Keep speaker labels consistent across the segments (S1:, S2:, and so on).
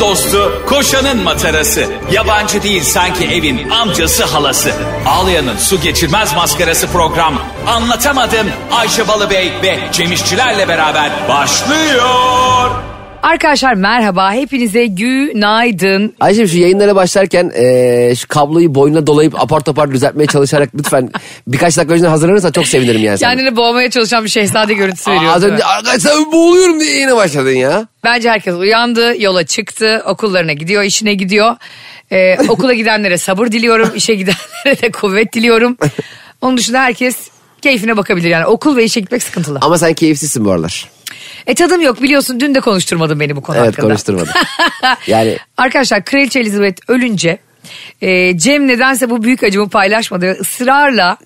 S1: dostu, koşanın matarası. Yabancı değil sanki evin amcası halası. Ağlayanın su geçirmez maskarası program. Anlatamadım Ayşe Balıbey ve Cemişçilerle beraber başlıyor.
S2: Arkadaşlar merhaba hepinize günaydın.
S3: Ayşem şu yayınlara başlarken eee, şu kabloyu boynuna dolayıp apar topar düzeltmeye çalışarak lütfen birkaç dakika önce hazırlanırsan çok sevinirim yani. sana.
S2: Kendini boğmaya çalışan bir şehzade görüntüsü
S3: Aa,
S2: veriyor.
S3: Az önce arkadaşlar boğuluyorum diye yine başladın ya.
S2: Bence herkes uyandı, yola çıktı, okullarına gidiyor, işine gidiyor. Ee, okula gidenlere sabır diliyorum, işe gidenlere de kuvvet diliyorum. Onun dışında herkes keyfine bakabilir yani okul ve işe gitmek sıkıntılı.
S3: Ama sen keyifsizsin bu aralar.
S2: E tadım yok biliyorsun dün de konuşturmadın beni bu konu
S3: Evet,
S2: hakkında.
S3: konuşturmadın. Yani-
S2: Arkadaşlar Kraliçe Elizabeth ölünce e, Cem nedense bu büyük acımı paylaşmadı ve ısrarla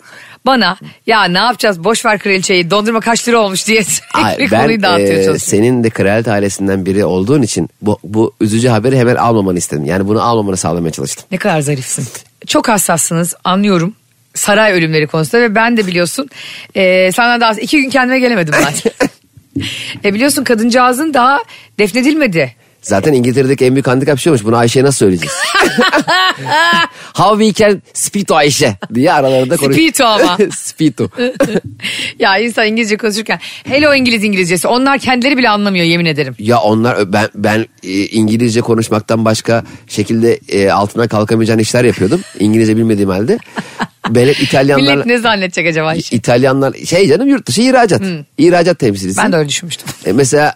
S2: bana ya ne yapacağız boş ver kraliçeyi dondurma kaç lira olmuş diye
S3: Ay,
S2: sürekli
S3: ben e,
S2: konuyu dağıtıyor
S3: eee,
S2: çalışıyor.
S3: senin de kraliyet ailesinden biri olduğun için bu, bu üzücü haberi hemen almamanı istedim. Yani bunu almamanı sağlamaya çalıştım.
S2: Ne kadar zarifsin. Çok hassassınız anlıyorum. Saray ölümleri konusunda ve ben de biliyorsun e, senden daha iki gün kendime gelemedim ben. e, biliyorsun kadıncağızın daha defnedilmedi.
S3: Zaten İngiltere'deki en büyük handikap şeymiş. Bunu Ayşe'ye nasıl söyleyeceğiz? How we can speak to Ayşe diye aralarında konuş.
S2: Speak to ama.
S3: speak to.
S2: ya insan İngilizce konuşurken hello İngiliz İngilizcesi onlar kendileri bile anlamıyor yemin ederim.
S3: Ya onlar ben ben e, İngilizce konuşmaktan başka şekilde e, altına kalkamayacağın işler yapıyordum. İngilizce bilmediğim halde. Ben hep
S2: Millet
S3: İtalyanlarla
S2: ne zannedecek acaba? işi?
S3: İtalyanlar şey canım yurt dışı ihracat. İhracat temsilcisi.
S2: Hmm. Ben de öyle düşünmüştüm.
S3: E, mesela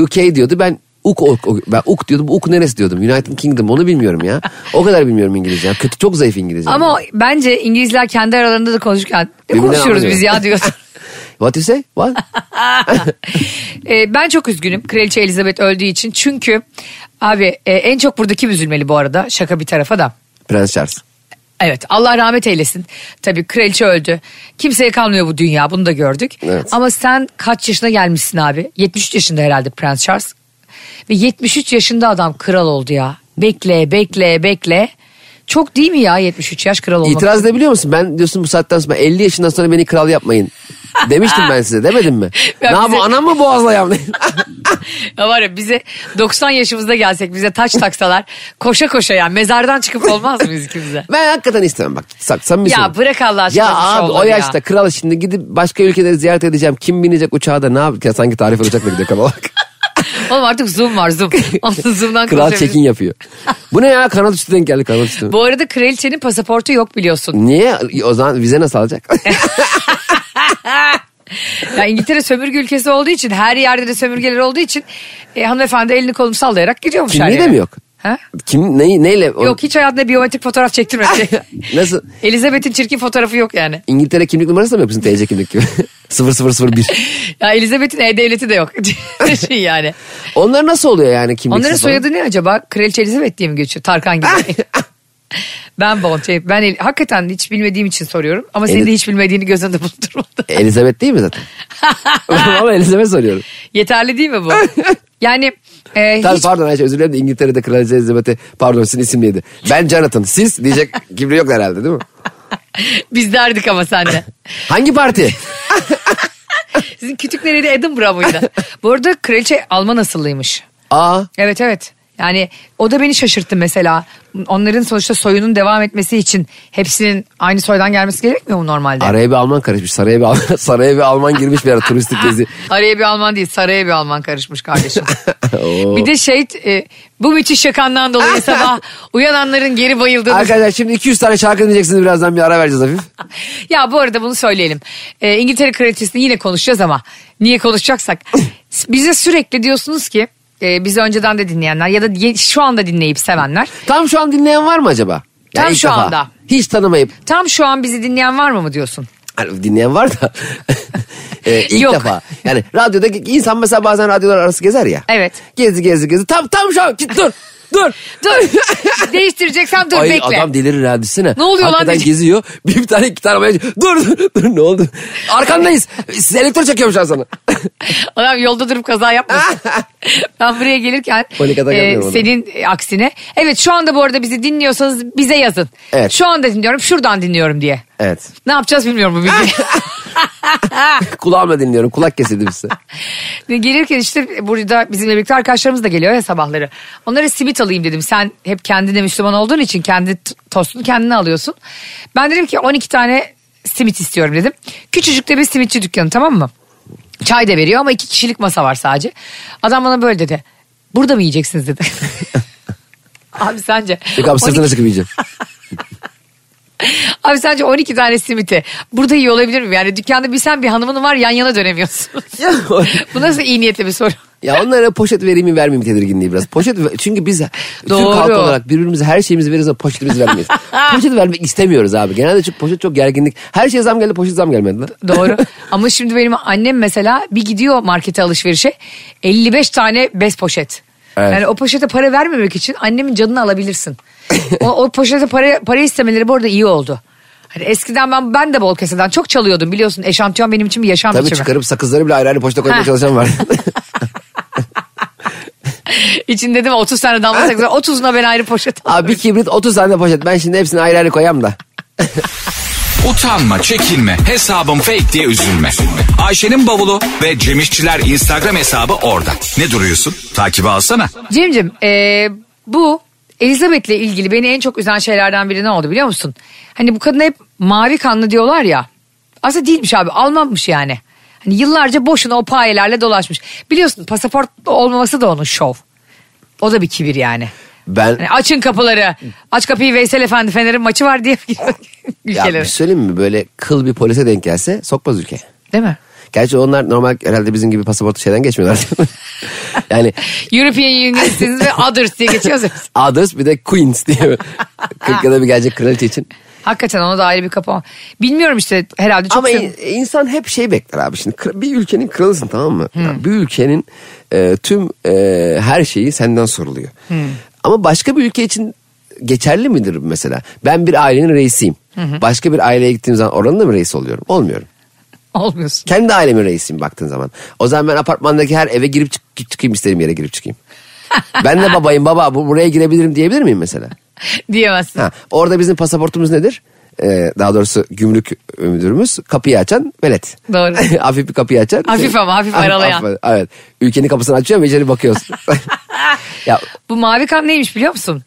S3: UK diyordu ben UK, UK ben UK diyordum. UK neresi diyordum? United Kingdom onu bilmiyorum ya. O kadar bilmiyorum İngilizce. Ya Kötü çok zayıf İngilizce.
S2: Ama bence İngilizler kendi aralarında da konuşurken "E,
S3: Birbirine
S2: konuşuyoruz
S3: anlıyor.
S2: biz ya diyor.
S3: What you say? What?
S2: E, ben çok üzgünüm Kraliçe Elizabeth öldüğü için. Çünkü abi e, en çok burada kim üzülmeli bu arada şaka bir tarafa da.
S3: Prens Charles.
S2: Evet Allah rahmet eylesin. Tabii kraliçe öldü. Kimseye kalmıyor bu dünya bunu da gördük.
S3: Evet.
S2: Ama sen kaç yaşına gelmişsin abi? 73 yaşında herhalde Prens Charles. Ve 73 yaşında adam kral oldu ya. Bekle bekle bekle. Çok değil mi ya 73 yaş kral olmak?
S3: İtiraz ne biliyor musun? Ben diyorsun bu saatten sonra 50 yaşından sonra beni kral yapmayın. Demiştim ben size demedim mi?
S2: Ya
S3: ne yapayım
S2: bize-
S3: anam mı boğazla yapmayın?
S2: Ya var ya bize 90 yaşımızda gelsek bize taç taksalar koşa koşa yani mezardan çıkıp olmaz mıyız ikimize?
S3: Ben hakikaten istemem bak. Sak, samimi
S2: Ya
S3: söylüyorum.
S2: bırak Allah aşkına
S3: Ya
S2: bir şey
S3: abi o
S2: olur ya.
S3: yaşta kral şimdi gidip başka ülkeleri ziyaret edeceğim. Kim binecek uçağa da ne yapacak? Ya sanki tarif uçakla gidiyor kral olarak.
S2: Oğlum artık zoom var zoom. Onu zoom'dan
S3: kral
S2: konuşabiliriz.
S3: çekin yapıyor. Bu ne ya kanat üstü denk geldi kanat üstü.
S2: Bu arada kraliçenin pasaportu yok biliyorsun.
S3: Niye? O zaman vize nasıl alacak?
S2: Ya İngiltere sömürge ülkesi olduğu için her yerde de sömürgeler olduğu için e, hanımefendi elini kolunu sallayarak gidiyormuş her
S3: Kimliği
S2: yere.
S3: de mi yok?
S2: Ha?
S3: Kim neyi, neyle? O-
S2: Yok hiç hayatında biyometrik fotoğraf çektirmedi.
S3: Nasıl?
S2: Elizabeth'in çirkin fotoğrafı yok yani.
S3: İngiltere kimlik numarası da mı yok bizim TC kimlik gibi? 0001.
S2: Ya Elizabeth'in e-devleti de yok. şey yani.
S3: Onlar nasıl oluyor yani kimliksiz
S2: Onların
S3: falan?
S2: soyadı ne acaba? Kraliçe Elizabeth diye mi geçiyor? Tarkan gibi. ben Bond. Şey, ben El- hakikaten hiç bilmediğim için soruyorum. Ama senin
S3: Eliz-
S2: de hiç bilmediğini göz önünde bulundurmadım.
S3: Elizabeth değil mi zaten? Ama Elizabeth soruyorum.
S2: Yeterli değil mi bu? Yani e,
S3: Tabii
S2: hiç
S3: pardon Ayşe özür dilerim de İngiltere'de Kraliçe Elizabeth'e pardon sizin isimliydi. Ben Jonathan siz diyecek kimliği yok herhalde değil mi?
S2: biz derdik ama senle.
S3: Hangi parti?
S2: Sizin kütük nereli Edinburgh mıydı? Bu arada kraliçe Alman asıllıymış.
S3: Aa
S2: Evet evet. Yani o da beni şaşırttı mesela. Onların sonuçta soyunun devam etmesi için hepsinin aynı soydan gelmesi gerekmiyor mu normalde?
S3: araya bir Alman karışmış saraya bir Alman, saraya bir Alman girmiş bir ara turistik gezi.
S2: Araya bir Alman değil saraya bir Alman karışmış kardeşim. bir de şey e, bu müthiş şakandan dolayı sabah uyananların geri bayıldığını.
S3: Arkadaşlar şimdi 200 tane şarkı dinleyeceksiniz birazdan bir ara vereceğiz hafif.
S2: Ya bu arada bunu söyleyelim. E, İngiltere kraliçesini yine konuşacağız ama niye konuşacaksak. bize sürekli diyorsunuz ki e, bizi önceden de dinleyenler ya da ye- şu anda dinleyip sevenler.
S3: Tam şu an dinleyen var mı acaba? Yani
S2: Tam
S3: ilk
S2: şu
S3: defa.
S2: anda.
S3: Hiç tanımayıp
S2: Tam şu an bizi dinleyen var mı mı diyorsun?
S3: Hani dinleyen var da e, ilk
S2: Yok.
S3: defa. Yani radyoda insan mesela bazen radyolar arası gezer ya.
S2: Evet.
S3: Gezi gezi gezi. Tam tam şu an git dur. Dur.
S2: Dur değiştireceksem dur
S3: Ay
S2: bekle.
S3: adam delirir ha düşünsene.
S2: Ne oluyor lan
S3: Hakikaten
S2: diyecek.
S3: geziyor. Bir tane iki tane bayağı- Dur dur dur ne oldu? Arkandayız. Siz elektro çekiyorum şu an sana.
S2: Adam yolda durup kaza yapmasın. ben buraya gelirken
S3: Panik atak
S2: e,
S3: yapmıyorum adam.
S2: senin e, aksine. Evet şu anda bu arada bizi dinliyorsanız bize yazın.
S3: Evet.
S2: Şu anda dinliyorum şuradan dinliyorum diye.
S3: Evet.
S2: Ne yapacağız bilmiyorum bu bilgiyi.
S3: Kulağımla dinliyorum. Kulak kesildi bize.
S2: Ve Gelirken işte burada bizimle birlikte arkadaşlarımız da geliyor ya sabahları. Onlara simit alayım dedim. Sen hep kendine Müslüman olduğun için kendi t- tostunu kendine alıyorsun. Ben dedim ki 12 tane simit istiyorum dedim. Küçücük de bir simitçi dükkanı tamam mı? Çay da veriyor ama iki kişilik masa var sadece. Adam bana böyle dedi. Burada mı yiyeceksiniz dedi. Abi sence?
S3: Yok abi
S2: 12
S3: sırtına sıkıp yiyeceğim.
S2: Abi sence 12 tane simiti burada iyi olabilir mi? Yani dükkanda bir sen bir hanımın var yan yana dönemiyorsun. Bu nasıl iyi niyetli bir soru?
S3: Ya onlara poşet vereyim mi vermeyeyim mi tedirginliği biraz. Poşet ver- çünkü biz Türk
S2: Doğru.
S3: halkı olarak birbirimize her şeyimizi veririz ama poşetimizi vermeyiz. poşet vermek istemiyoruz abi. Genelde çünkü poşet çok gerginlik. Her şeye zam geldi poşet zam gelmedi lan.
S2: Doğru. Ama şimdi benim annem mesela bir gidiyor markete alışverişe 55 tane bez poşet.
S3: Evet.
S2: Yani o poşete para vermemek için annemin canını alabilirsin. o, o poşete para, para istemeleri bu arada iyi oldu. Hani eskiden ben ben de bol keseden çok çalıyordum biliyorsun. Eşantiyon benim için bir yaşam
S3: Tabii
S2: biçimi.
S3: çıkarıp sakızları bile ayrı ayrı poşete koymaya
S2: Ha.
S3: çalışan var.
S2: İçinde değil mi 30 tane damla sakız var. 30'una ben ayrı poşet
S3: abi bir kibrit 30 tane poşet. Ben şimdi hepsini ayrı ayrı koyam da.
S1: Utanma, çekinme, hesabım fake diye üzülme. Ayşe'nin bavulu ve Cemişçiler Instagram hesabı orada. Ne duruyorsun? Takibi alsana.
S2: Cemcim e, bu Elizabeth'le ilgili beni en çok üzen şeylerden biri ne oldu biliyor musun? Hani bu kadına hep mavi kanlı diyorlar ya. Aslında değilmiş abi Almanmış yani. Hani yıllarca boşuna o payelerle dolaşmış. Biliyorsun pasaport olmaması da onun şov. O da bir kibir yani.
S3: Ben
S2: Hani açın kapıları. Aç kapıyı Veysel Efendi Fener'in maçı var diye
S3: ya bir
S2: ülkelere.
S3: söyleyeyim mi böyle kıl bir polise denk gelse sokmaz ülkeye.
S2: Değil mi?
S3: Gerçi onlar normal herhalde bizim gibi pasaportu şeyden geçmiyorlar. yani
S2: European Union'siniz ve others diye geçiyoruz. ya biz.
S3: others bir de queens diye. 40 yılda bir gelecek kraliçe için.
S2: Hakikaten ona da ayrı bir kapama. Bilmiyorum işte herhalde çok
S3: Ama
S2: sev-
S3: in- insan hep şey bekler abi şimdi kra- bir ülkenin kralısın tamam mı? Ya bir ülkenin e, tüm e, her şeyi senden soruluyor. Ama başka bir ülke için geçerli midir bu mesela? Ben bir ailenin reisiyim. Başka bir aileye gittiğim zaman oranın da mı reisi oluyorum? Olmuyorum.
S2: olmuyorsun.
S3: Kendi ailemin reisiyim baktığın zaman. O zaman ben apartmandaki her eve girip çık- çıkayım istediğim yere girip çıkayım. ben de babayım baba bu- buraya girebilirim diyebilir miyim mesela?
S2: Diyemezsin.
S3: Ha, orada bizim pasaportumuz nedir? Ee, daha doğrusu gümrük müdürümüz kapıyı açan velet.
S2: Doğru.
S3: hafif bir kapıyı açan.
S2: Hafif ama, hafif aralayan.
S3: evet. Ülkenin kapısını açıyor ve içeri bakıyorsun. ya
S2: Bu mavi kan neymiş biliyor musun?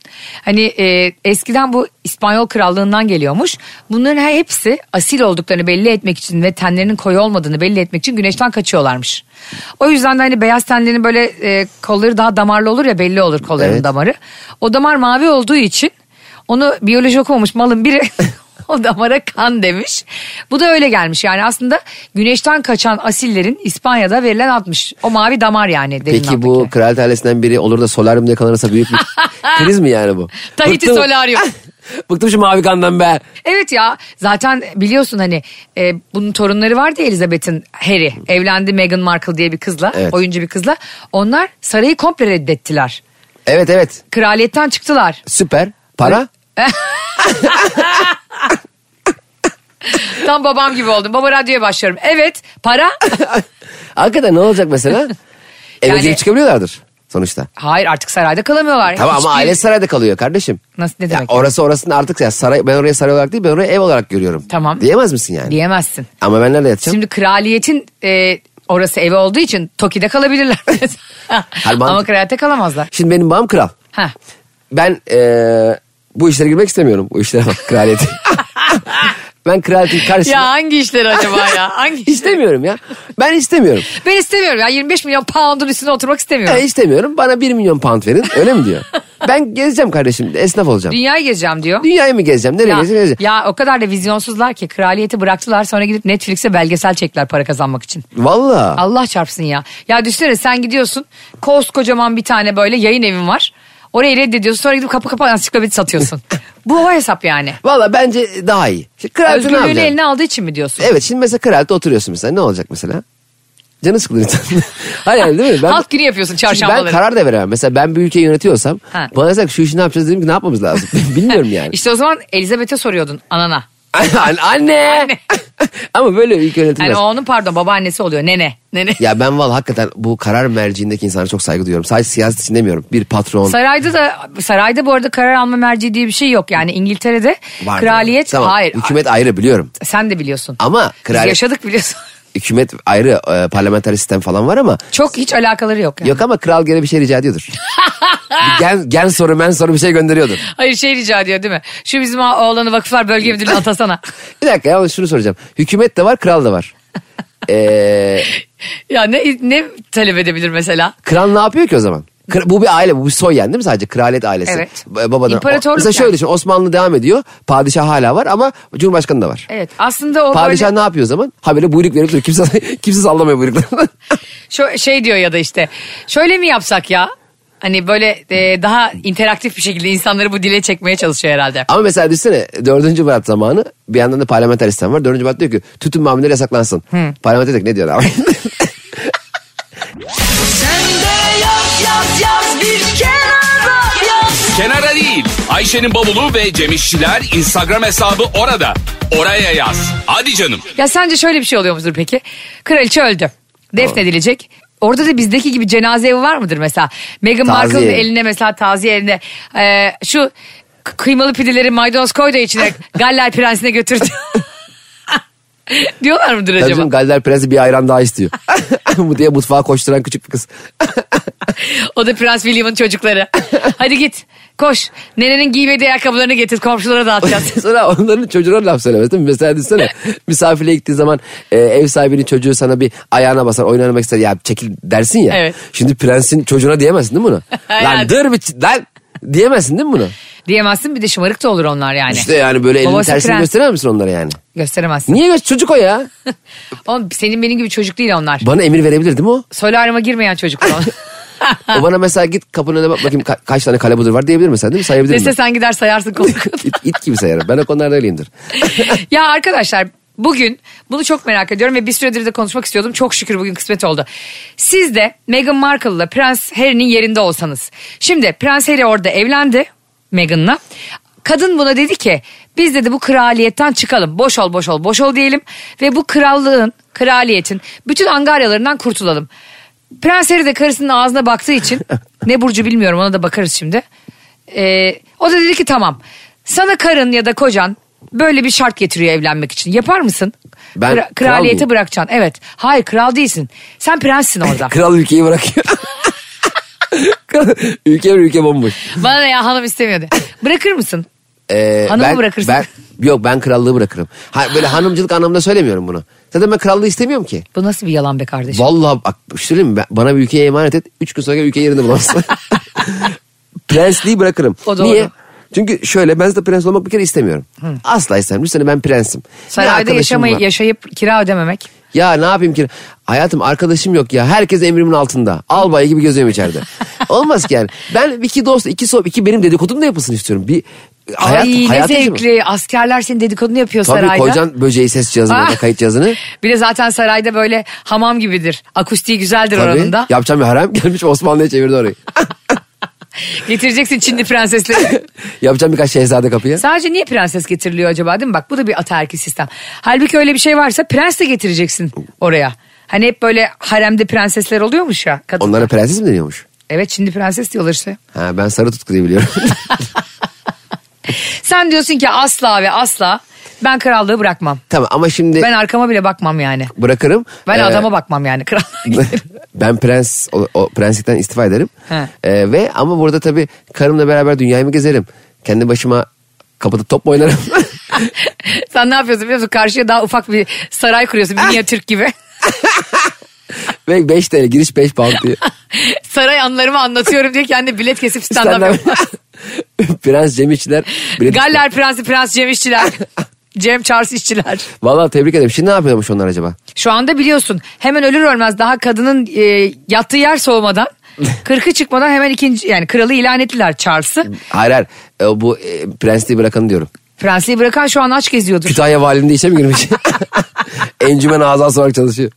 S2: Hani e, eskiden bu İspanyol krallığından geliyormuş. Bunların her hepsi asil olduklarını belli etmek için ve tenlerinin koyu olmadığını belli etmek için güneşten kaçıyorlarmış. O yüzden de hani beyaz tenlerin böyle e, kolları daha damarlı olur ya belli olur kolların
S3: Evet.
S2: damarı. O damar mavi olduğu için onu biyoloji okumamış malın biri o damara kan demiş. Bu da öyle gelmiş yani aslında güneşten kaçan asillerin İspanya'da verilen atmış. O mavi damar yani. derinin
S3: peki bu
S2: altındaki.
S3: kraliyet ailesinden biri olur da solaryumda yakalanırsa büyük bir kriz mi yani bu?
S2: Tahiti
S3: Bıktım-
S2: solaryum.
S3: Bıktım şu mavi kandan be.
S2: Evet ya zaten biliyorsun hani e, bunun torunları vardı ya Elizabeth'in Harry evlendi Meghan Markle diye bir kızla
S3: Evet.
S2: oyuncu bir kızla onlar sarayı komple reddettiler
S3: Evet evet
S2: kraliyetten çıktılar
S3: süper para.
S2: tam babam gibi oldum baba radyoya başlıyorum evet para
S3: Hakikaten ne olacak mesela? Eve
S2: Yani-
S3: girip çıkabiliyorlardır sonuçta.
S2: hayır artık sarayda kalamıyorlar
S3: Tamam ama
S2: Hiçbir-
S3: aile sarayda kalıyor kardeşim.
S2: Nasıl, ne
S3: Ya
S2: demek
S3: orası orasını artık ya saray ben oraya saray olarak değil ben oraya ev olarak görüyorum.
S2: Tamam.
S3: Diyemez misin yani?
S2: diyemezsin
S3: Ama ben nerede yatacağım?
S2: şimdi kraliyetin e, orası evi olduğu için Toki'de kalabilirler
S3: mantık-
S2: ama kraliyette kalamazlar
S3: Şimdi benim babam kral.
S2: Heh.
S3: Ben eee, bu işlere girmek istemiyorum. Bu işlere bak kraliyeti. ben kraliyetin karşısında
S2: ya hangi işleri acaba ya hangi işleri
S3: istemiyorum ya. Ben istemiyorum.
S2: Ben istemiyorum ya 25 milyon pound'un üstüne oturmak istemiyorum.
S3: Ben istemiyorum. Bana 1 milyon pound verin. Öyle mi diyor? ben gezeceğim kardeşim. Esnaf olacağım.
S2: Dünyayı gezeceğim diyor.
S3: Dünyayı mı gezeceğim? Nereye
S2: Ya,
S3: gezeceğim? gezeceğim?
S2: ya o kadar da vizyonsuzlar ki kraliyeti bıraktılar sonra gidip Netflix'e belgesel çektiler para kazanmak için.
S3: Valla.
S2: Allah çarpsın ya. Ya düşünsene sen gidiyorsun koskocaman bir tane böyle yayın evin var. Orayı reddediyorsun sonra gidip kapı kapı ansiklopedi satıyorsun. Bu o hesap yani.
S3: Valla bence daha iyi. Şimdi kraliyeti ne
S2: Özgürlüğünü
S3: yapacağım?
S2: eline aldığı için mi diyorsun?
S3: Evet şimdi mesela kraliyette oturuyorsun mesela ne olacak mesela? Canı sıkılır insan. Hayır yani değil mi?
S2: Halk günü yapıyorsun
S3: Çünkü
S2: çarşambaları.
S3: Ben karar da veremem. Mesela ben bir ülkeyi yönetiyorsam
S2: Ha.
S3: bana desek şu işi ne yapacağız dedim ki ne yapmamız lazım. Bilmiyorum yani.
S2: İşte o zaman Elizabeth'e soruyordun anana.
S3: Anne.
S2: Anne.
S3: Ama böyle bir ülke yönetilmez.
S2: Yani onun Hani pardon babaannesi oluyor nene. Nene.
S3: Ya ben valla hakikaten bu karar merciindeki insanlara çok saygı duyuyorum. Sadece siyaset için demiyorum. Bir patron.
S2: Sarayda da sarayda bu arada karar alma merci diye bir şey yok. Yani İngiltere'de
S3: var.
S2: kraliyet
S3: Tamam,
S2: hayır.
S3: Hükümet ayrı biliyorum.
S2: Sen de biliyorsun.
S3: Ama
S2: Biz
S3: kraliyet,
S2: yaşadık biliyorsun.
S3: hükümet ayrı e, parlamenter sistem falan var ama
S2: Çok hiç alakaları yok yani.
S3: Yok ama kral gene bir şey rica ediyordur. Bir gen, gen soru men soru bir şey gönderiyordur.
S2: Hayır şey rica ediyor değil mi? Şu bizim oğlanı vakıflar bölge müdürlüğüne atasana.
S3: Bir dakika yalnız şunu soracağım. Hükümet de var kral da var. Ee,
S2: ya ne, ne talep edebilir mesela?
S3: kral ne yapıyor ki o zaman? Kra- Bu bir aile bu bir soy yani değil mi sadece kraliyet ailesi.
S2: Evet.
S3: Ba- Babadan.
S2: İmparatorluk
S3: Mesela şöyle
S2: yani.
S3: düşün Osmanlı devam ediyor. Padişah hala var ama Cumhurbaşkanı da var.
S2: Evet aslında o
S3: Padişah
S2: böyle
S3: ne yapıyor o zaman? Ha böyle buyruk verip duruyor. Kimse, kimse sallamıyor buyruklarını.
S2: şö- şey diyor ya da işte şöyle mi yapsak ya? Hani böyle e, daha interaktif bir şekilde insanları bu dile çekmeye çalışıyor herhalde.
S3: Ama mesela düşünsene 4. Murat zamanı bir yandan da parlamenter sistem var. 4. Murat diyor ki tütün mamulleri yasaklansın. Parlamenter diyor ki ne diyor abi?
S1: Kenara değil. Ayşe'nin bavulu ve Cemişçiler Instagram hesabı orada. Oraya yaz. Hadi canım.
S2: Ya sence şöyle bir şey oluyor mudur peki? Kraliçe öldü. Defnedilecek. Orada da bizdeki gibi cenaze evi var mıdır mesela? Meghan
S3: Taziye.
S2: Markle'ın eline mesela taziye eline e, şu k- kıymalı pideleri maydanoz koy da içine Galler Prensi'ne götür. Diyorlar mıdır
S3: Tabii
S2: acaba?
S3: canım Galler Prensi bir ayran daha istiyor. Bu diye mutfağa koşturan küçük bir kız.
S2: O da Prens William'ın çocukları. Hadi git koş. Nenenin giymediği ayakkabılarını getir komşulara dağıtacağız.
S3: Sonra onların çocuğuna laf söylemez değil mi? Mesela düşünsene misafirliğe gittiğin zaman e, ev sahibinin çocuğu sana bir ayağına basar oyun oynamak ister ya çekil dersin ya.
S2: Evet.
S3: Şimdi prensin çocuğuna diyemezsin değil mi bunu? lan
S2: Hayat.
S3: dur bir ç- lan diyemezsin değil mi bunu?
S2: Diyemezsin bir de şımarık da olur onlar yani.
S3: İşte yani böyle elinin
S2: Babası
S3: tersini
S2: prens.
S3: gösteremez misin onlara yani?
S2: Gösteremezsin.
S3: Niye göster çocuk o ya?
S2: Oğlum senin benim gibi çocuk değil onlar.
S3: Bana emir verebilir değil mi o?
S2: Solaryuma girmeyen çocuk onlar.
S3: O bana mesela git kapının önüne bak bakayım ka- kaç tane kale budur var diyebilir mi sen değil mi? Sayabilir
S2: Dese
S3: mi?
S2: sen gider sayarsın konuk.
S3: it, it gibi sayarım. Ben o konularda öyleyimdir.
S2: ya arkadaşlar bugün bunu çok merak ediyorum ve bir süredir de konuşmak istiyordum. Çok şükür bugün kısmet oldu. Siz de Meghan Markle'la Prens Harry'nin yerinde olsanız. Şimdi Prens Harry orada evlendi Meghan'la. Kadın buna dedi ki biz dedi bu kraliyetten çıkalım. Boş ol boş ol boş ol diyelim. Ve bu krallığın, kraliyetin bütün angaryalarından kurtulalım. Prens Harry de karısının ağzına baktığı için ne burcu bilmiyorum ona da bakarız şimdi. Ee, o da dedi ki tamam sana karın ya da kocan böyle bir şart getiriyor evlenmek için yapar mısın?
S3: Ben kral
S2: kraliyeti
S3: mıyım?
S2: bırakacaksın evet. Hayır kral değilsin sen prenssin orada.
S3: Kral ülkeyi bırakıyor. Kral- ülke bir ülke bomboş.
S2: Bana ne ya hanım istemiyordu. Bırakır mısın?
S3: Ee,
S2: Hanımı bırakırsın.
S3: Ben, yok ben krallığı bırakırım. Ha, böyle hanımcılık anlamında söylemiyorum bunu. Zaten ben krallığı istemiyorum ki.
S2: Bu nasıl bir yalan be kardeşim?
S3: Vallahi bak bir şey söyleyeyim mi? Ben- bana bir ülkeye emanet et. Üç gün sonra ülke yerinde bulamazsın. Prensliği bırakırım.
S2: O doğru.
S3: Niye? Çünkü şöyle ben de prens olmak bir kere istemiyorum. Asla istemiyorum. Üstelik ben prensim. Ne
S2: Sarayda
S3: arkadaşım
S2: yaşamayı,
S3: var?
S2: yaşayıp kira ödememek.
S3: Ya ne yapayım ki? Hayatım arkadaşım yok ya. Herkes emrimin altında. Albay gibi geziyorum içeride. Olmaz ki yani. Ben iki dost, iki sohbet, iki benim dedikodum da yapılsın istiyorum. Bir hayat,
S2: Ay ne
S3: hayat yaşamı.
S2: zevkli. Askerler senin dedikodunu yapıyor
S3: Tabii
S2: sarayda.
S3: koyacaksın böceği ses cihazını
S2: Ah.
S3: orada kayıt cihazını.
S2: Bir de zaten sarayda böyle hamam gibidir. Akustiği güzeldir
S3: Tabii.
S2: oranında.
S3: Yapacağım bir harem gelmiş Osmanlı'ya çevirdi orayı.
S2: Getireceksin Çinli prensesleri.
S3: Yapacağım birkaç şehzade kapıya.
S2: Sadece niye prenses getiriliyor acaba değil mi? Bak bu da bir ataerkil sistem. Halbuki öyle bir şey varsa prens de getireceksin oraya. Hani hep böyle haremde prensesler oluyormuş ya. Kadın.
S3: Onlara prenses mi deniyormuş?
S2: Evet şimdi prenses diyorlar işte.
S3: Ha, ben sarı tutku diye biliyorum.
S2: Sen diyorsun ki asla ve asla ben krallığı bırakmam.
S3: tamam ama şimdi
S2: Ben arkama bile bakmam yani.
S3: bırakırım.
S2: Ben
S3: Ee,
S2: adama bakmam yani kral.
S3: ben prens o, o prenslikten istifa ederim.
S2: He.
S3: Ee, ve ama burada tabii karımla beraber dünyayı mı gezerim? Kendi başıma kapıda top mu oynarım?
S2: Sen ne yapıyorsun biliyor musun? Karşıya daha ufak bir saray kuruyorsun.
S3: Ah!
S2: Bir Türk gibi.
S3: ve 5 TL giriş 5 pound diye.
S2: saray anılarımı anlatıyorum diye kendi bilet kesip stand-up yapıyor.
S3: Prens Cem İşçiler. bilet-
S2: Galler Prensi Prens Cem İşçiler. Cem Charles İşçiler.
S3: Vallahi tebrik ederim. Şimdi ne yapıyormuş onlar acaba?
S2: Şu anda biliyorsun hemen ölür ölmez daha kadının e, yattığı yer soğumadan kırkı çıkmadan hemen ikinci yani kralı ilan ettiler Charles'ı.
S3: Hayır hayır. Ee, bu e, prensliği bırakanı diyorum.
S2: Prensliği bırakan şu an aç geziyordur.
S3: Kütahya valiliğinde işe mi girmiş? Encümen ağzı olarak çalışıyor.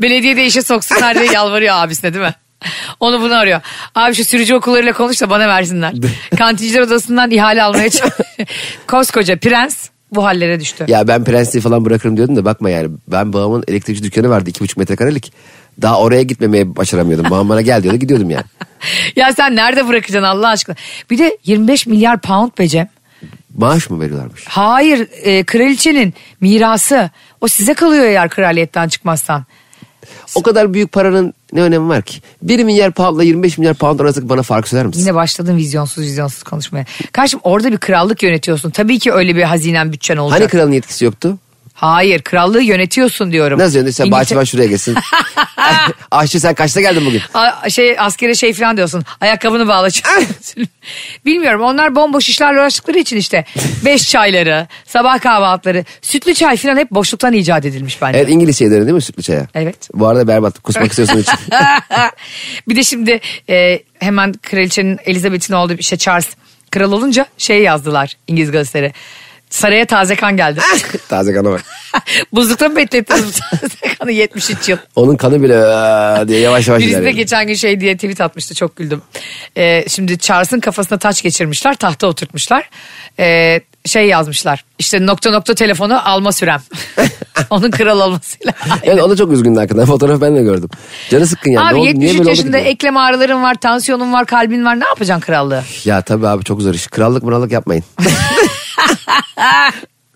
S2: Belediye de işe soksunlar diye yalvarıyor abisine değil mi? Onu bunu arıyor. Abi şu sürücü okullarıyla konuş da bana versinler. Kantinciler odasından ihale almaya çalış. Koskoca prens bu hallere düştü.
S3: Ya ben prensliği falan bırakırım diyordum da bakma yani. Ben babamın elektrikçi dükkanı vardı iki buçuk metrekarelik. Daha oraya gitmemeye başaramıyordum. Babam bana gel diyordu gidiyordum yani.
S2: Ya sen nerede bırakacaksın Allah aşkına? Bir de 25 milyar pound be Cem.
S3: Maaş mı veriyorlarmış?
S2: Hayır e, kraliçenin mirası. O size kalıyor eğer kraliyetten çıkmazsan.
S3: O kadar büyük paranın ne önemi var ki? 1 milyar poundla 25 milyar pound arasındaki bana fark söyler misin?
S2: Yine başladın vizyonsuz vizyonsuz konuşmaya. Karşım orada bir krallık yönetiyorsun. Tabii ki öyle bir hazinen bütçen olacak.
S3: Hani kralın yetkisi yoktu?
S2: Hayır krallığı yönetiyorsun diyorum.
S3: Nasıl yönetiyorsun? Sen
S2: İngiltere-
S3: bahçıvan şuraya gelsin. Aşçı sen kaçta geldin bugün?
S2: A- şey askere şey falan diyorsun. Ayakkabını bağla. Bilmiyorum onlar bomboş işlerle uğraştıkları için işte. Beş çayları, sabah kahvaltıları, sütlü çay falan hep boşluktan icat edilmiş bence.
S3: Evet İngiliz şeyleri değil mi sütlü çaya?
S2: Evet.
S3: Bu arada berbat. Kusmak istiyorsun için.
S2: bir de şimdi e, hemen kraliçenin Elizabeth'in olduğu işte Charles kral olunca şey yazdılar İngiliz gazeteleri. Saraya taze kan geldi.
S3: Taze kana bak.
S2: Buzlukta mı beklettiniz bu taze kanı 73 yıl?
S3: Onun kanı bile "Aa!" diye yavaş yavaş
S2: Birisi de
S3: ilerliyor.
S2: geçen gün şey diye tweet atmıştı çok güldüm. Ee, şimdi Charles'ın kafasına taç geçirmişler tahta oturtmuşlar. Ee, şey yazmışlar işte nokta nokta telefonu alma sürem. Onun kral olmasıyla.
S3: Yani o da çok üzgündü hakikaten. Fotoğraf ben de gördüm. Canı sıkkın yani. Ne
S2: Abi
S3: oldu? Niye
S2: 73
S3: böyle oldu
S2: yaşında
S3: ki?
S2: eklem ağrıların var, tansiyonun var, kalbin var. Ne yapacaksın krallığı?
S3: Ya tabii abi çok zor iş. Krallık mırallık yapmayın.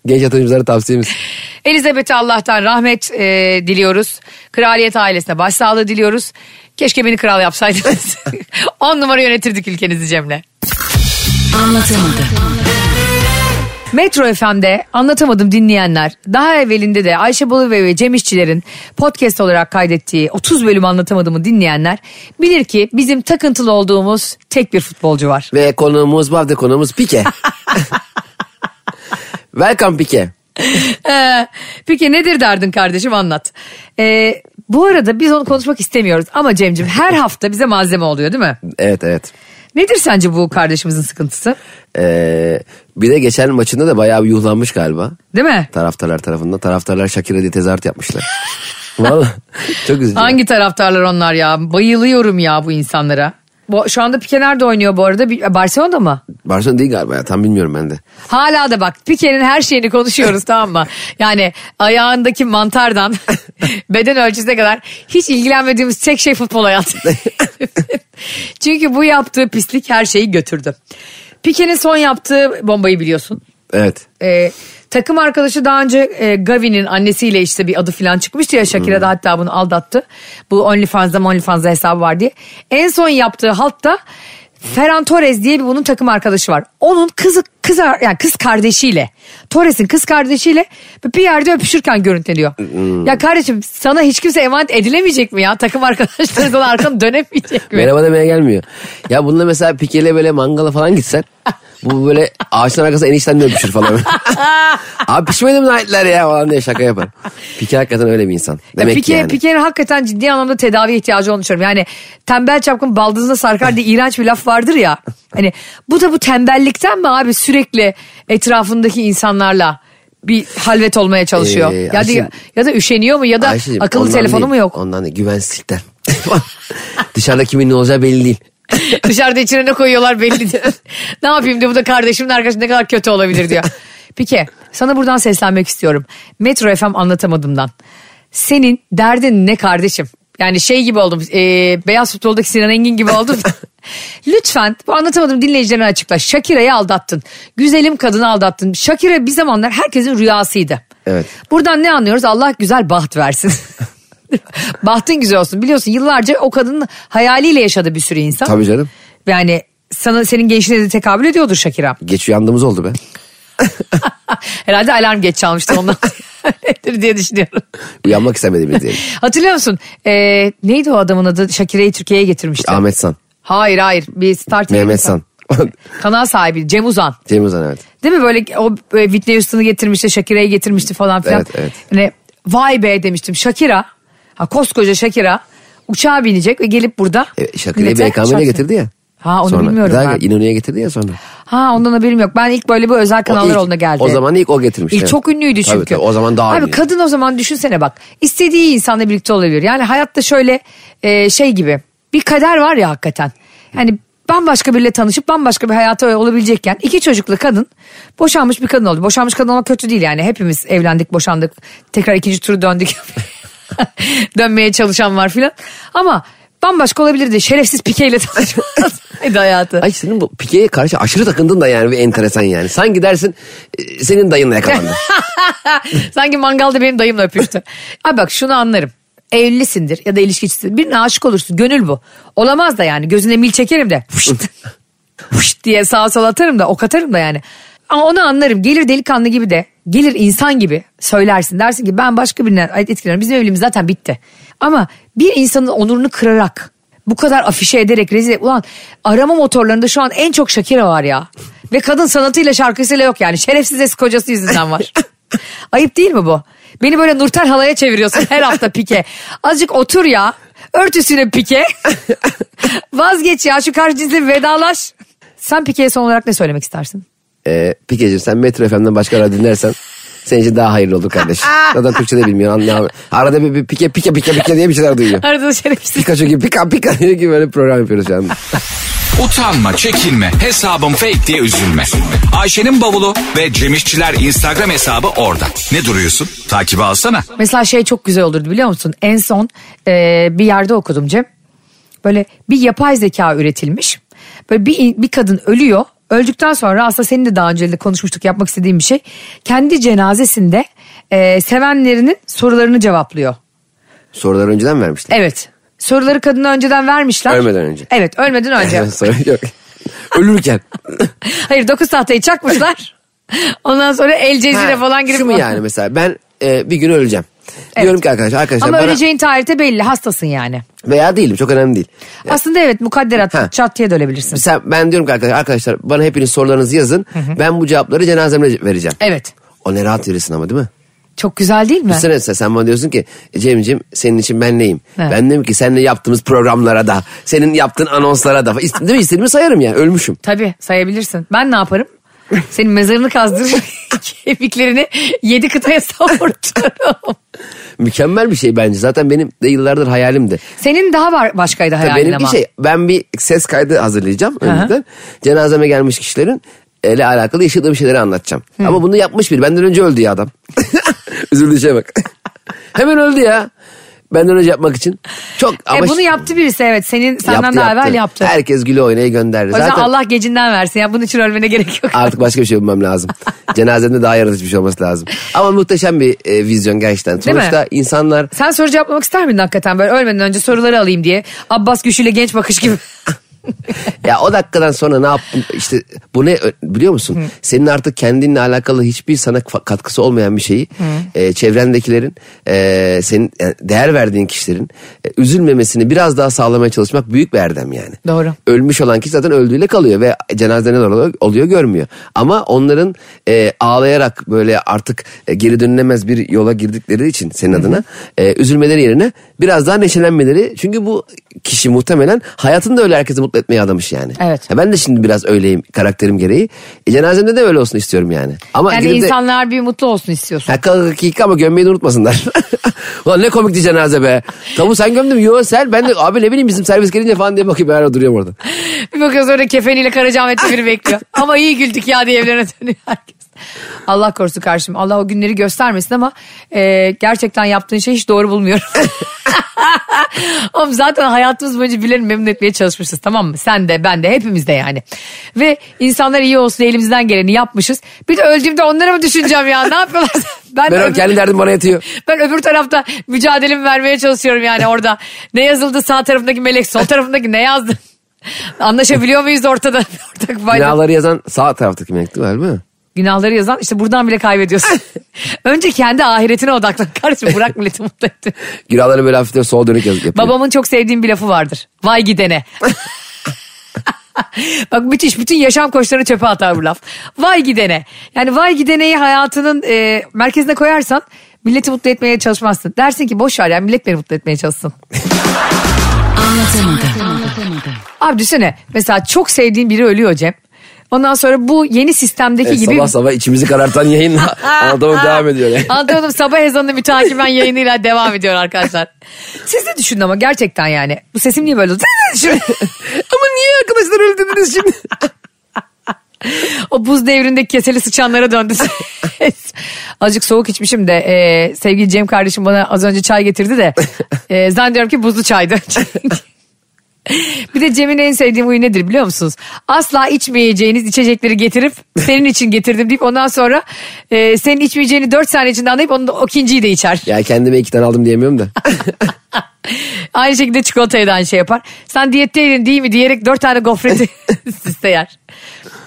S3: Genç yatırımcılara tavsiyemiz.
S2: Elizabeth'e Allah'tan rahmet e, diliyoruz. Kraliyet ailesine başsağlığı diliyoruz. Keşke beni kral yapsaydınız. 10 numara yönetirdik ülkenizi Cem'le.
S4: Anlatamadım.
S2: Metro FM'de anlatamadım dinleyenler. Daha evvelinde de Ayşe Balıbey ve Cem İşçilerin podcast olarak kaydettiği 30 bölüm anlatamadığımı dinleyenler bilir ki bizim takıntılı olduğumuz tek bir futbolcu var.
S3: Ve konuğumuz bu hafta konuğumuz Pike. Welcome Pike.
S2: Ee, Peki nedir derdin kardeşim anlat. Ee, bu arada biz onu konuşmak istemiyoruz ama Cem'cim her hafta bize malzeme oluyor değil mi?
S3: Evet evet.
S2: Nedir sence bu kardeşimizin sıkıntısı?
S3: Ee, bir de geçen maçında da bayağı bir yuhlanmış galiba.
S2: Değil mi?
S3: Taraftarlar tarafından. Taraftarlar Shakira diye tezahürat yapmışlar. Vallahi çok üzücü.
S2: Hangi taraftarlar onlar ya? Bayılıyorum ya bu insanlara. Bu, şu anda Pique nerede oynuyor bu arada? Bir- Barcelona'da mı?
S3: Barcelona değil galiba ya tam bilmiyorum ben de.
S2: Hala da bak Pike'nin her şeyini konuşuyoruz tamam mı? Yani ayağındaki mantardan beden ölçüsüne kadar hiç ilgilenmediğimiz tek şey futbol hayatı. Çünkü bu yaptığı pislik her şeyi götürdü. Pike'nin son yaptığı bombayı biliyorsun.
S3: Evet.
S2: Ee, takım arkadaşı daha önce e, Gavi'nin annesiyle işte bir adı filan çıkmıştı ya Shakira da hatta bunu aldattı. Bu OnlyFans'da OnlyFans'da hesabı var diye. En son yaptığı haltta Ferran Torres diye bir bunun takım arkadaşı var. Onun kızı kız ar- yani kız kardeşiyle Torres'in kız kardeşiyle bir yerde öpüşürken görüntüleniyor. Ya kardeşim sana hiç kimse emanet edilemeyecek mi ya? Takım arkadaşları sana arkanı dönemeyecek mi?
S3: Merhaba demeye gelmiyor. Ya bununla mesela Pike'yle böyle mangala falan gitsen. Bu böyle ağaçların arkasında enişten öpüşür falan. Abi pişmedi mi nahitler ya falan diye şaka yapar. Pike hakikaten öyle bir insan. Demek
S2: Pike,
S3: ki yani.
S2: Pike'nin hakikaten ciddi anlamda tedavi ihtiyacı olduğunu düşünüyorum. Yani tembel çapkın baldızına sarkar diye iğrenç bir laf vardır ya. Hani bu da bu tembellikten mi abi sürekli etrafındaki insanlarla bir halvet olmaya çalışıyor.
S3: Ee,
S2: ya, da,
S3: Ayşe-
S2: ya da üşeniyor mu ya da
S3: Ayşeciğim,
S2: akıllı
S3: ondan
S2: telefonu
S3: değil,
S2: mu yok?
S3: Ondan değil güvensizlikten. Dışarıda kimin ne olacağı belli değil.
S2: Dışarıda içine ne koyuyorlar belli değil. ne yapayım diyor bu da kardeşimin arkadaşı ne kadar kötü olabilir diyor. Pike sana buradan seslenmek istiyorum. Metro FM anlatamadımdan. Senin derdin ne kardeşim? Yani şey gibi oldum. e, beyaz futboldaki Sinan Engin gibi oldum. Lütfen bu anlatamadım dinleyicilerine açıkla. Shakira'yı aldattın. Güzelim kadını aldattın. Shakira bir zamanlar herkesin rüyasıydı.
S3: Evet.
S2: Buradan ne anlıyoruz? Allah güzel baht versin. Bahtın güzel olsun. Biliyorsun yıllarca o kadının hayaliyle yaşadı bir sürü insan.
S3: Tabii canım.
S2: Yani sana senin gençliğine de tekabül ediyordur Shakira.
S3: Geç uyandığımız oldu be.
S2: Herhalde alarm geç çalmıştı ondan. Öyledir diye düşünüyorum.
S3: Uyanmak istemediğimiz diyelim.
S2: Hatırlıyor musun? Ee, neydi o adamın adı? Shakira'yı Türkiye'ye getirmişti.
S3: Ahmet San.
S2: Hayır hayır. Bir Star TV
S3: Mehmet
S2: insan.
S3: San.
S2: Kanal sahibi Cem Uzan.
S3: Cem Uzan evet.
S2: Değil mi böyle o e, Whitney Houston'ı getirmişti, Shakira'yı getirmişti falan filan.
S3: Evet, evet.
S2: Yani, vay be demiştim. Shakira, ha koskoca Shakira uçağa binecek ve gelip burada.
S3: E, Şakir'i
S2: millete
S3: BKM'de
S2: şarkı-
S3: getirdi ya.
S2: Ha onu
S3: sonra.
S2: bilmiyorum
S3: Bir daha
S2: ben.
S3: İnönü'ye getirdi ya sonra.
S2: Ha ondan haberim yok. Ben ilk böyle bir özel
S3: O
S2: kanallar
S3: ilk-
S2: olduğuna geldi.
S3: O zaman ilk o getirmiş.
S2: İlk
S3: evet.
S2: çok ünlüydü çünkü.
S3: Tabii, tabii, o zaman daha
S2: Abi
S3: ünlü.
S2: kadın o zaman düşünsene bak. istediği insanla birlikte olabilir. Yani hayatta şöyle e, şey gibi bir kader var ya hakikaten. Yani bambaşka biriyle tanışıp bambaşka bir hayata olabilecekken iki çocuklu kadın boşanmış bir kadın oldu. Boşanmış kadın olmak kötü değil yani. Hepimiz evlendik, boşandık. Tekrar ikinci turu döndük. Dönmeye çalışan var filan. Ama bambaşka olabilirdi. Şerefsiz pikeyle tanışmasaydı hayatı.
S3: Ay senin bu Pike'ye karşı aşırı takındın da yani bir enteresan yani. Sanki dersin e, senin dayınla yakalandı.
S2: Sanki mangalda benim dayımla öpüştü. Abi bak şunu anlarım. Evlisindir ya da ilişkicisindir. Birine aşık olursun. Gönül bu. Olamaz da yani. Gözüne mil çekerim de. Fışt, fışt diye sağa sola atarım da ok atarım da yani. Ama onu anlarım. Gelir delikanlı gibi de. Gelir insan gibi söylersin. Dersin ki ben başka birinden etkileniyorum. Bizim evliliğimiz zaten bitti. Ama bir insanın onurunu kırarak bu kadar afişe ederek rezil ulan arama motorlarında şu an en çok Shakira var ya. Ve kadın sanatıyla şarkısıyla yok yani. Şerefsiz eski kocası yüzünden var. Ayıp değil mi bu? Beni böyle Nurten halaya çeviriyorsun her hafta pike. Azıcık otur ya. Örtüsüne pike. Vazgeç ya şu karşı cinsle vedalaş. Sen pikeye son olarak ne söylemek istersin?
S3: Ee, Pike'cim sen Metro FM'den başka radyo dinlersen senin için daha hayırlı olur kardeş. Zaten Türkçe de bilmiyor. anlayamıyor. Arada bir, bir pike pike pike pike diye bir şeyler duyuyor.
S2: Arada da şerefsiz.
S3: Pikachu gibi pika pika diye gibi böyle program yapıyoruz şu anda.
S1: Utanma, çekinme, hesabım fake diye üzülme. Ayşe'nin bavulu ve Cemişçiler Instagram hesabı orada. Ne duruyorsun? Takibi alsana.
S2: Mesela şey çok güzel olurdu biliyor musun? En son e, bir yerde okudum Cem. Böyle bir yapay zeka üretilmiş. Böyle bir, bir kadın ölüyor. Öldükten sonra aslında senin de daha önce de konuşmuştuk yapmak istediğim bir şey. Kendi cenazesinde e, sevenlerinin sorularını cevaplıyor.
S3: Soruları önceden vermişler.
S2: Evet. Soruları kadına önceden vermişler.
S3: Ölmeden önce.
S2: Evet ölmeden önce.
S3: Soru yok. Ölürken.
S2: Hayır dokuz tahtayı çakmışlar. Ondan sonra El Cezire falan girip.
S3: Şu mu yani mesela ben e, bir gün öleceğim.
S2: Evet.
S3: Diyorum ki arkadaşlar arkadaşlar
S2: Ama
S3: bana-
S2: öleceğin tarihte belli hastasın yani.
S3: veya değilim çok önemli değil.
S2: Aslında evet mukadderat
S3: Ha.
S2: çat diye de ölebilirsin.
S3: Mesela ben diyorum ki arkadaşlar, arkadaşlar bana hepiniz sorularınızı yazın. Ben bu cevapları cenazemde vereceğim.
S2: Evet.
S3: O ne rahat verirsin ama değil mi?
S2: Çok güzel değil mi?
S3: Sen, sen, sen bana diyorsun ki "E, Cem'ciğim senin için ben neyim?
S2: Evet.
S3: Ben diyorum ki seninle yaptığımız programlara da, senin yaptığın anonslara da. İst- Değil mi? İstediğimi sayarım yani ölmüşüm.
S2: Tabii sayabilirsin. Ben ne yaparım? Senin mezarını kazdırırım. Kemiklerini yedi kıtaya savurturum.
S3: Mükemmel bir şey bence. Zaten benim de yıllardır hayalimdi.
S2: Senin daha var başkaydı
S3: Tabii
S2: hayalin
S3: benimki
S2: ama.
S3: şey ben bir ses kaydı hazırlayacağım
S2: hı.
S3: önceden. Cenazeme gelmiş kişilerin ele alakalı yaşadığım şeyleri anlatacağım. Ama bunu yapmış biri. Benden önce öldü ya adam. Üzüldüğü şeye bak. Hemen öldü ya. Benden önce yapmak için. Çok ama
S2: e, bunu
S3: şi-
S2: yaptı birisi evet. Senin senden
S3: yaptı,
S2: daha
S3: yaptı.
S2: evvel yaptı.
S3: Herkes güle oynaya gönderdi.
S2: o yüzden
S3: Zaten
S2: Allah gecinden versin. Ya bunun için ölmene gerek yok.
S3: artık başka bir şey bulmam lazım. Cenazemde daha yaratıcı bir şey olması lazım. Ama muhteşem bir e, vizyon gerçekten.
S2: Değil mi?
S3: Sonuçta insanlar
S2: Sen soru cevaplamak ister miydin hakikaten? Böyle ölmeden önce soruları alayım diye. Abbas Güçlü'yle genç bakış gibi.
S3: Ya o dakikadan sonra ne yaptın işte bu ne biliyor musun? Senin artık kendinle alakalı hiçbir sana fa- katkısı olmayan bir şeyi e, çevrendekilerin e, senin yani değer verdiğin kişilerin e, üzülmemesini biraz daha sağlamaya çalışmak büyük bir erdem yani.
S2: Doğru.
S3: Ölmüş olan kişi zaten öldüğüyle kalıyor ve cenazede ne oluyor, oluyor görmüyor. Ama onların e, ağlayarak böyle artık e, geri dönülemez bir yola girdikleri için senin adına e, üzülmeleri yerine biraz daha neşelenmeleri. Çünkü bu kişi muhtemelen hayatında öyle herkesi mutlu etmeye adamış yani.
S2: Evet.
S3: Ha, ben de şimdi biraz öyleyim karakterim gereği. E, cenazemde de öyle olsun istiyorum yani. Ama
S2: Yani
S3: gidip de-
S2: insanlar bir mutlu olsun istiyorsun.
S3: Ha, kalk dakika ama gömmeyi de unutmasınlar. Ulan ne komikti cenaze be. Tavuğu sen gömdün mü? Yo sen. Ben de abi ne bileyim bizim servis gelince falan diye bakayım. Ben hala duruyorum orada.
S2: Bir bakıyoruz orada kefeniyle Karacaahmet'te biri bekliyor. Ama iyi güldük ya diye evlerine dönüyor herkes. Allah korusun karşım. Allah o günleri göstermesin ama e, gerçekten yaptığın şey hiç doğru bulmuyorum. Oğlum zaten hayatımız boyunca birilerini memnun etmeye çalışmışız tamam mı? Sen de ben de hepimiz de yani. Ve insanlar iyi olsun diye elimizden geleni yapmışız. Bir de öldüğümde onları mı düşüneceğim ya ne yapıyorlar? Ben,
S3: Ben
S2: öbür-
S3: kendi derdim bana yetiyor.
S2: ben öbür tarafta mücadelemi vermeye çalışıyorum yani orada. Ne yazıldı sağ tarafındaki melek, sol tarafındaki ne yazdı? Anlaşabiliyor muyuz ortada? Ortak fayda.
S3: Binaları yazan sağ taraftaki melekti galiba.
S2: Günahları yazan işte buradan bile kaybediyorsun. Önce kendi ahiretine odaklan. Kardeşim bırak milleti mutlu etti.
S3: Günahları böyle hafiften sola dönük yazıp yapıyor.
S2: Babamın çok sevdiğim bir lafı vardır. Vay gidene. Bak müthiş bütün yaşam koçlarını çöpe atar bu laf. Vay gidene. Yani vay gideneyi hayatının e, merkezine koyarsan milleti mutlu etmeye çalışmazsın. Dersin ki boş ver ya millet beni mutlu etmeye çalışsın.
S4: Anlatamadım.
S2: Abi düşünsene mesela çok sevdiğin biri ölüyor Cem. Ondan sonra bu yeni sistemdeki
S3: E,
S2: gibi...
S3: Sabah sabah içimizi karartan yayınla
S2: Ah,
S3: anlatamam devam ediyor yani.
S2: Anlatamam sabah ezanını mütakiben yayınıyla devam ediyor arkadaşlar. Siz de düşünün ama gerçekten yani. Bu sesim niye böyle oldu? Ama niye
S3: arkadaşlar öyle dediniz şimdi.
S2: O buz devrinde keseli sıçanlara döndü. Azıcık soğuk içmişim de e, sevgili Cem kardeşim bana az önce çay getirdi de e, zannediyorum ki buzlu çaydı. Bir de Cem'in en sevdiğim huyu nedir biliyor musunuz? Asla içmeyeceğiniz içecekleri getirip senin için getirdim deyip ondan sonra e, senin içmeyeceğini 4 saniye içinde anlayıp onu da, o ikinciyi de içer.
S3: ya kendime iki tane aldım diyemiyorum da.
S2: Aynı şekilde çikolatayı da aynı şey yapar. Sen diyetteydin değil mi diyerek dört tane gofreti siste yer.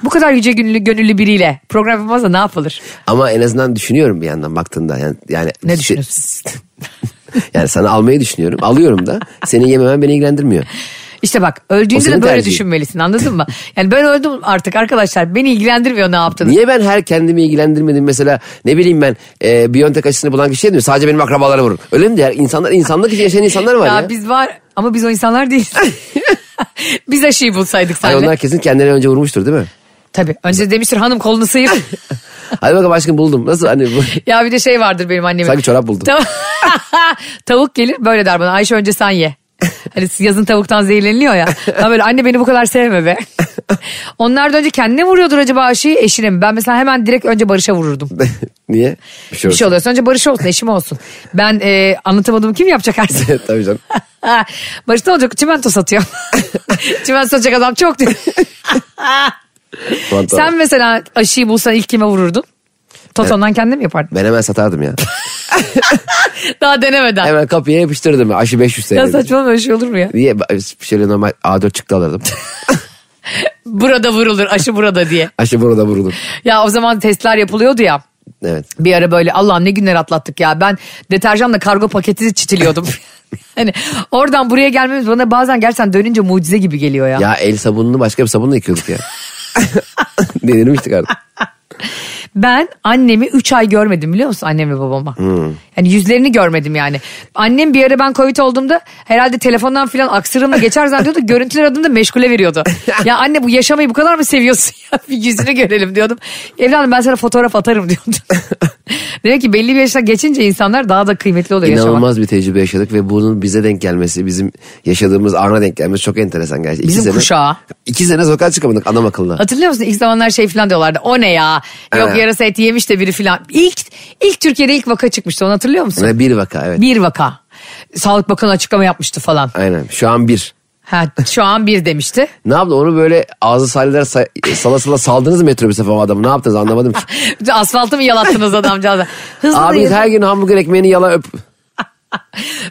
S2: Bu kadar yüce gönüllü, gönüllü biriyle program yapamazsa ne yapılır?
S3: Ama en azından düşünüyorum bir yandan baktığında. Yani, yani
S2: Ne
S3: şey-
S2: düşünüyorsun?
S3: Yani sana almayı düşünüyorum. Alıyorum da. Seni yememen beni ilgilendirmiyor.
S2: İşte bak
S3: O
S2: öldüğünde de
S3: senin
S2: böyle
S3: tercihin.
S2: düşünmelisin anladın mı? Yani ben öldüm artık arkadaşlar beni ilgilendirmiyor ne yaptığınız.
S3: Niye ben her kendimi ilgilendirmedim mesela ne bileyim ben e, Biontech aşısını bulan kişi demiyor. Sadece benim akrabalara vurur. Öyle mi diyor? İnsanlar, insanlık için yaşayan insanlar var
S2: Ya,
S3: ya.
S2: biz var ama biz o insanlar değiliz. biz aşıyı bulsaydık
S3: Ay,
S2: senle.
S3: onlar kesin kendilerini önce vurmuştur değil mi?
S2: Tabii önce demiştir hanım kolunu sıyır.
S3: Hadi bakalım aşkım buldum. Nasıl hani bu?
S2: ya bir de şey vardır benim annemin.
S3: Sanki çorap buldum.
S2: Tav- Tavuk gelir böyle der bana Ayşe önce sen ye. Hani yazın tavuktan zehirleniliyor ya. Ben böyle anne beni bu kadar sevme be. Onlar da önce kendine vuruyordur acaba aşıyı eşine mi? Ben mesela hemen direkt önce Barış'a vururdum.
S3: Niye? Bir şey
S2: Bir şey
S3: olsun.
S2: oluyorsa önce Barış olsun eşim olsun. Ben e, anlatamadım kim yapacak her şeyi?
S3: Tabii canım.
S2: Barış ne olacak çimento satıyor. çimento satacak adam çok diyor.
S3: Tamam, tamam.
S2: Sen mesela aşıyı bulsan ilk kime vururdun? Totondan kendin mi yapardın?
S3: Ben hemen satardım ya.
S2: Daha denemeden.
S3: Hemen kapıya yapıştırırdım. ya. Aşı 500 TL.
S2: Ya saçmalama öyle şey olur mu ya?
S3: Niye? Bir şeyle normal A4 çıktı alırdım.
S2: Burada vurulur aşı burada diye.
S3: Aşı burada vurulur.
S2: Ya o zaman testler yapılıyordu ya.
S3: Evet.
S2: Bir ara böyle Allah'ım ne günler atlattık ya. Ben deterjanla kargo paketi çitiliyordum. hani oradan buraya gelmemiz bana bazen gerçekten dönünce mucize gibi geliyor ya.
S3: Ya el sabununu başka bir sabunla yıkıyorduk ya. Delirmiştik artık.
S2: Ben annemi 3 ay görmedim biliyor musun annem ve babama. Yani yüzlerini görmedim yani. Annem bir ara ben Covid olduğumda herhalde telefondan filan aksırımla geçer zannediyordu. görüntüler adında meşgule veriyordu. ya anne bu yaşamayı bu kadar mı seviyorsun ya? Bir yüzünü görelim diyordum. Evladım ben sana fotoğraf atarım diyordum. Demek ki belli bir yaşa geçince insanlar daha da kıymetli oluyor yaşamak.
S3: İnanılmaz bir tecrübe yaşadık ve bunun bize denk gelmesi, bizim yaşadığımız ana denk gelmesi çok enteresan gerçekten.
S2: Bizim
S3: sene,
S2: kuşağa.
S3: İki sene sokağa çıkamadık adam akıllı.
S2: Hatırlıyor musun ilk zamanlar şey filan diyorlardı. O ne ya? Yok
S3: Evet.
S2: yarasa eti yemiş de biri filan. İlk, ilk Türkiye'de ilk vaka çıkmıştı onu hatırlıyor musun?
S3: Yani bir vaka evet.
S2: Bir vaka. Sağlık Bakanı açıklama yapmıştı falan.
S3: Aynen şu an bir.
S2: Ha, şu an bir demişti.
S3: Ne yaptı onu böyle ağzı salyalar sa- sala sala saldınız mı metrobüse falan adamı ne yaptınız anlamadım ki.
S2: Asfaltı mı yalattınız adamcağıza? Hızlı
S3: Abi
S2: yürü.
S3: her gün hamburger ekmeğini yala öp.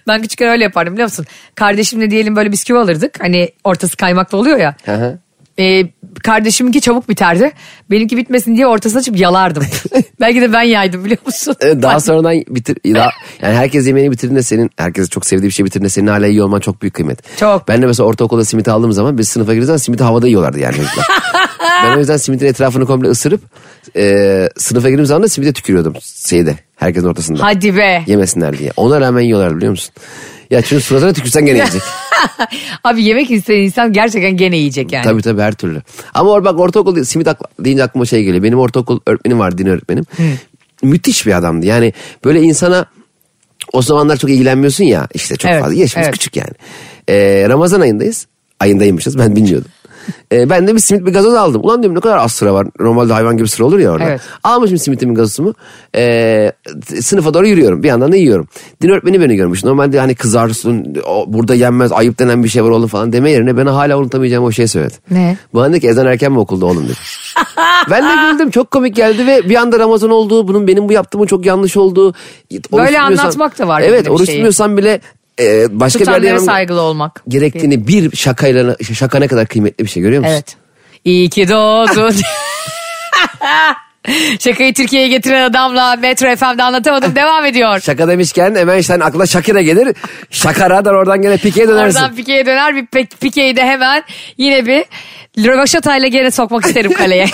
S2: Ben küçükken öyle yapardım biliyor musun? Kardeşimle diyelim böyle bisküvi alırdık. Hani ortası kaymaklı oluyor ya.
S3: Hı hı.
S2: Ee, kardeşiminki çabuk biterdi. Benimki bitmesin diye ortasını açıp yalardım. Belki de ben yaydım biliyor musun?
S3: Evet, E, daha sonradan bitir daha, yani herkes yemeğini bitirdiğinde senin herkes çok sevdiği bir şey bitirdiğinde senin hala iyi olman çok büyük kıymet.
S2: Çok.
S3: Ben de mesela ortaokulda simit aldığım zaman biz sınıfa girdiğimiz zaman simiti havada yiyorlardı yani çocuklar. ben o yüzden simitin etrafını komple ısırıp e, sınıfa girdiğim zaman da simite tükürüyordum şeyde herkesin ortasında.
S2: Hadi be.
S3: Yemesinler diye. Ona rağmen yiyorlar biliyor musun? Ya çünkü suratına tükürsen gene yiyecek.
S2: Abi yemek isteyen insan gerçekten gene yiyecek yani.
S3: Tabii tabii her türlü. Ama or bak ortaokul simit akla- deyince aklıma şey geliyor. Benim ortaokul öğretmenim vardı din öğretmenim. Müthiş bir adamdı. Yani böyle insana o zamanlar çok ilgilenmiyorsun ya işte çok
S2: Evet,
S3: fazla yaşımız
S2: evet.
S3: küçük yani. Ee, Ramazan ayındayız. Ayındaymışız ben bilmiyordum. Ee, ben de bir simit bir gazoz aldım. Ulan diyorum ne kadar az sıra var. Normalde hayvan gibi sıra olur ya orada.
S2: Evet.
S3: Almışım simitimin gazozumu. Ee, sınıfa doğru yürüyorum. Bir yandan da yiyorum. Din öğretmeni beni görmüş. Normalde hani kızarsın. o, burada yenmez. Ayıp denen bir şey var oğlum falan deme yerine bana hala unutamayacağım o şeyi söyledi.
S2: Ne?
S3: Bana dedi ki ezan erken mi okulda oğlum dedi. ben de güldüm. Çok komik geldi ve bir anda Ramazan olduğu, bunun benim bu yaptığımın çok yanlış olduğu. oruç
S2: Böyle
S3: tutmuyorsan-
S2: anlatmak da var
S3: Evet
S2: bunda bir
S3: oruç
S2: şeyi.
S3: tutmuyorsan bile e, başka bir
S2: Tutanlara
S3: yerde yemem-
S2: saygılı olmak.
S3: gerektiğini bir şakayla şaka ne kadar kıymetli bir şey görüyor musun?
S2: Evet. İyi ki doğdun. Şakayı Türkiye'ye getiren adamla Metro FM'de anlatamadım devam ediyor.
S3: Şaka demişken hemen işte hani aklına Shakira gelir. Şakaradan oradan gene pikeye dönersin.
S2: Oradan Pike'ye döner bir pe- Pike'yi de hemen yine bir rövaşatayla geri sokmak isterim kaleye.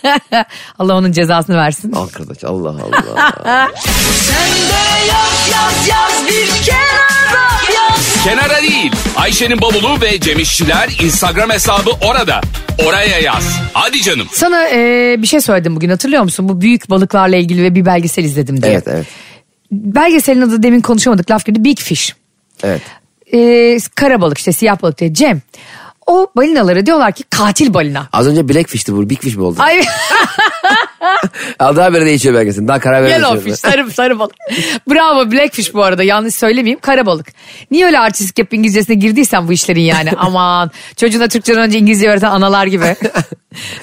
S2: Allah onun cezasını versin.
S3: Al kardeş, Allah Allah.
S1: Kenara değil. Ayşe'nin bavulu ve Cemişçiler Instagram hesabı orada. Oraya yaz. Hadi canım.
S2: Sana e, bir şey söyledim bugün hatırlıyor musun? Bu büyük balıklarla ilgili ve bir belgesel izledim diye.
S3: evet evet.
S2: Belgeselin adı demin konuşamadık laf gibi Big Fish.
S3: Evet.
S2: e, kara balık işte siyah balık diye Cem. O balinalara diyorlar ki katil balina.
S3: Az önce Blackfish'ti bu. Big Fish mi oldu?
S2: Ay
S3: Al daha böyle değişiyor belgesini. Daha karar vermedim.
S2: yellowfish sarı, sarı balık. Bravo blackfish bu arada yanlış söylemeyeyim kara balık. Niye öyle artistik yapıp İngilizcesine girdiysen bu işlerin yani aman. Çocuğuna Türkçeden önce İngilizce öğreten analar gibi.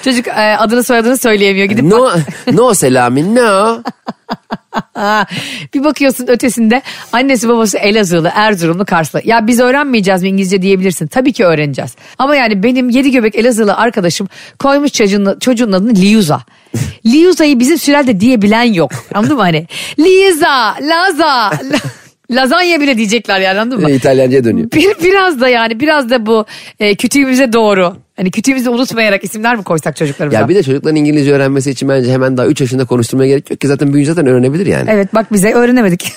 S2: Çocuk e, adını soyadını söyleyemiyor gidip
S3: No, no Selami no.
S2: Aa, bir bakıyorsun ötesinde annesi babası Elazığlı, Erzurumlu, Karslı. Ya biz öğrenmeyeceğiz mi İngilizce diyebilirsin. Tabii ki öğreneceğiz. Ama yani benim yedi göbek Elazığlı arkadaşım koymuş çocuğun, çocuğun adını Liuza. Liuza'yı bizim sürelde diyebilen yok. Anladın mı hani? Liza, Laza, la- Lazanya bile diyecekler yani anladın mı?
S3: İtalyanca'ya dönüyor.
S2: Bir, biraz da yani biraz da bu e, kütüğümüze doğru. Hani kütüğümüzü unutmayarak isimler mi koysak çocuklarımıza?
S3: Ya bir de çocukların İngilizce öğrenmesi için bence hemen daha 3 yaşında konuşturmaya gerek yok ki zaten büyüyünce zaten öğrenebilir yani.
S2: Evet bak bize öğrenemedik.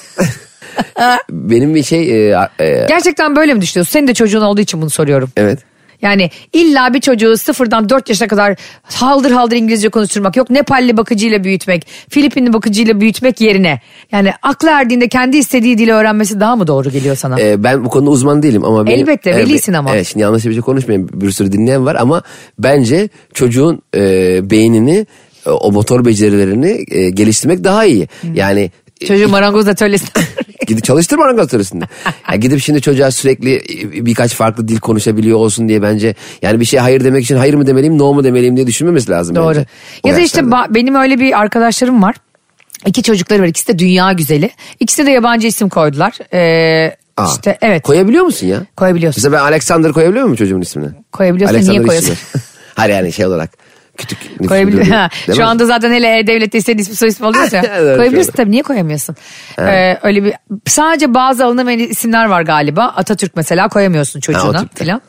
S3: Benim bir şey e, e,
S2: Gerçekten böyle mi düşünüyorsun? Senin de çocuğun olduğu için bunu soruyorum.
S3: evet.
S2: Yani illa bir çocuğu sıfırdan 4 yaşına kadar haldır haldır İngilizce konuşturmak yok. Nepalli bakıcıyla büyütmek, Filipinli bakıcıyla büyütmek yerine. Yani aklı erdiğinde kendi istediği dili öğrenmesi daha mı doğru geliyor sana?
S3: E, ben bu konuda uzman değilim ama benim,
S2: Elbette,
S3: Evet,
S2: velisin ama.
S3: Evet, şimdi yanlış bir şey konuşmayayım bir sürü dinleyen var ama bence çocuğun e, beynini e, o motor becerilerini e, geliştirmek daha iyi.
S2: Hmm.
S3: Yani e,
S2: Çocuğu marangoz atölyesine.
S3: Gidip çalıştır marangoz teorisinde. Ya gidip şimdi çocuğa sürekli e, birkaç farklı dil konuşabiliyor olsun diye bence yani bir şey hayır demek için hayır mı demeliyim no mu demeliyim diye düşünmemesi lazım
S2: Doğru.
S3: bence. O
S2: Ya da işte
S3: yaşlarda.
S2: ba- benim öyle bir arkadaşlarım var. İki çocukları var. İkisi de dünya güzeli. İkisine de yabancı isim koydular. Ee,
S3: Aa,
S2: işte evet.
S3: Koyabiliyor musun ya?
S2: Koyabiliyorsun.
S3: Mesela ben Alexander koyabiliyor muyum çocuğumun ismini?
S2: Koyabiliyorsun, niye
S3: Alexander
S2: koyuyorsun?
S3: Üstüner. Hayır yani şey olarak küçük. nüfus
S2: Koyabil-
S3: müdürlüğü.
S2: Ha,
S3: Değil
S2: Şu
S3: mi?
S2: anda zaten hele e-devlette istediğin ismi soy ismi oluyorsa.
S3: Evet,
S2: koyabilirsin
S3: şöyle.
S2: tabii niye koyamıyorsun? Ee, öyle bir sadece bazı alınamayan isimler var galiba. Atatürk mesela koyamıyorsun çocuğuna
S3: tipte.
S2: filan.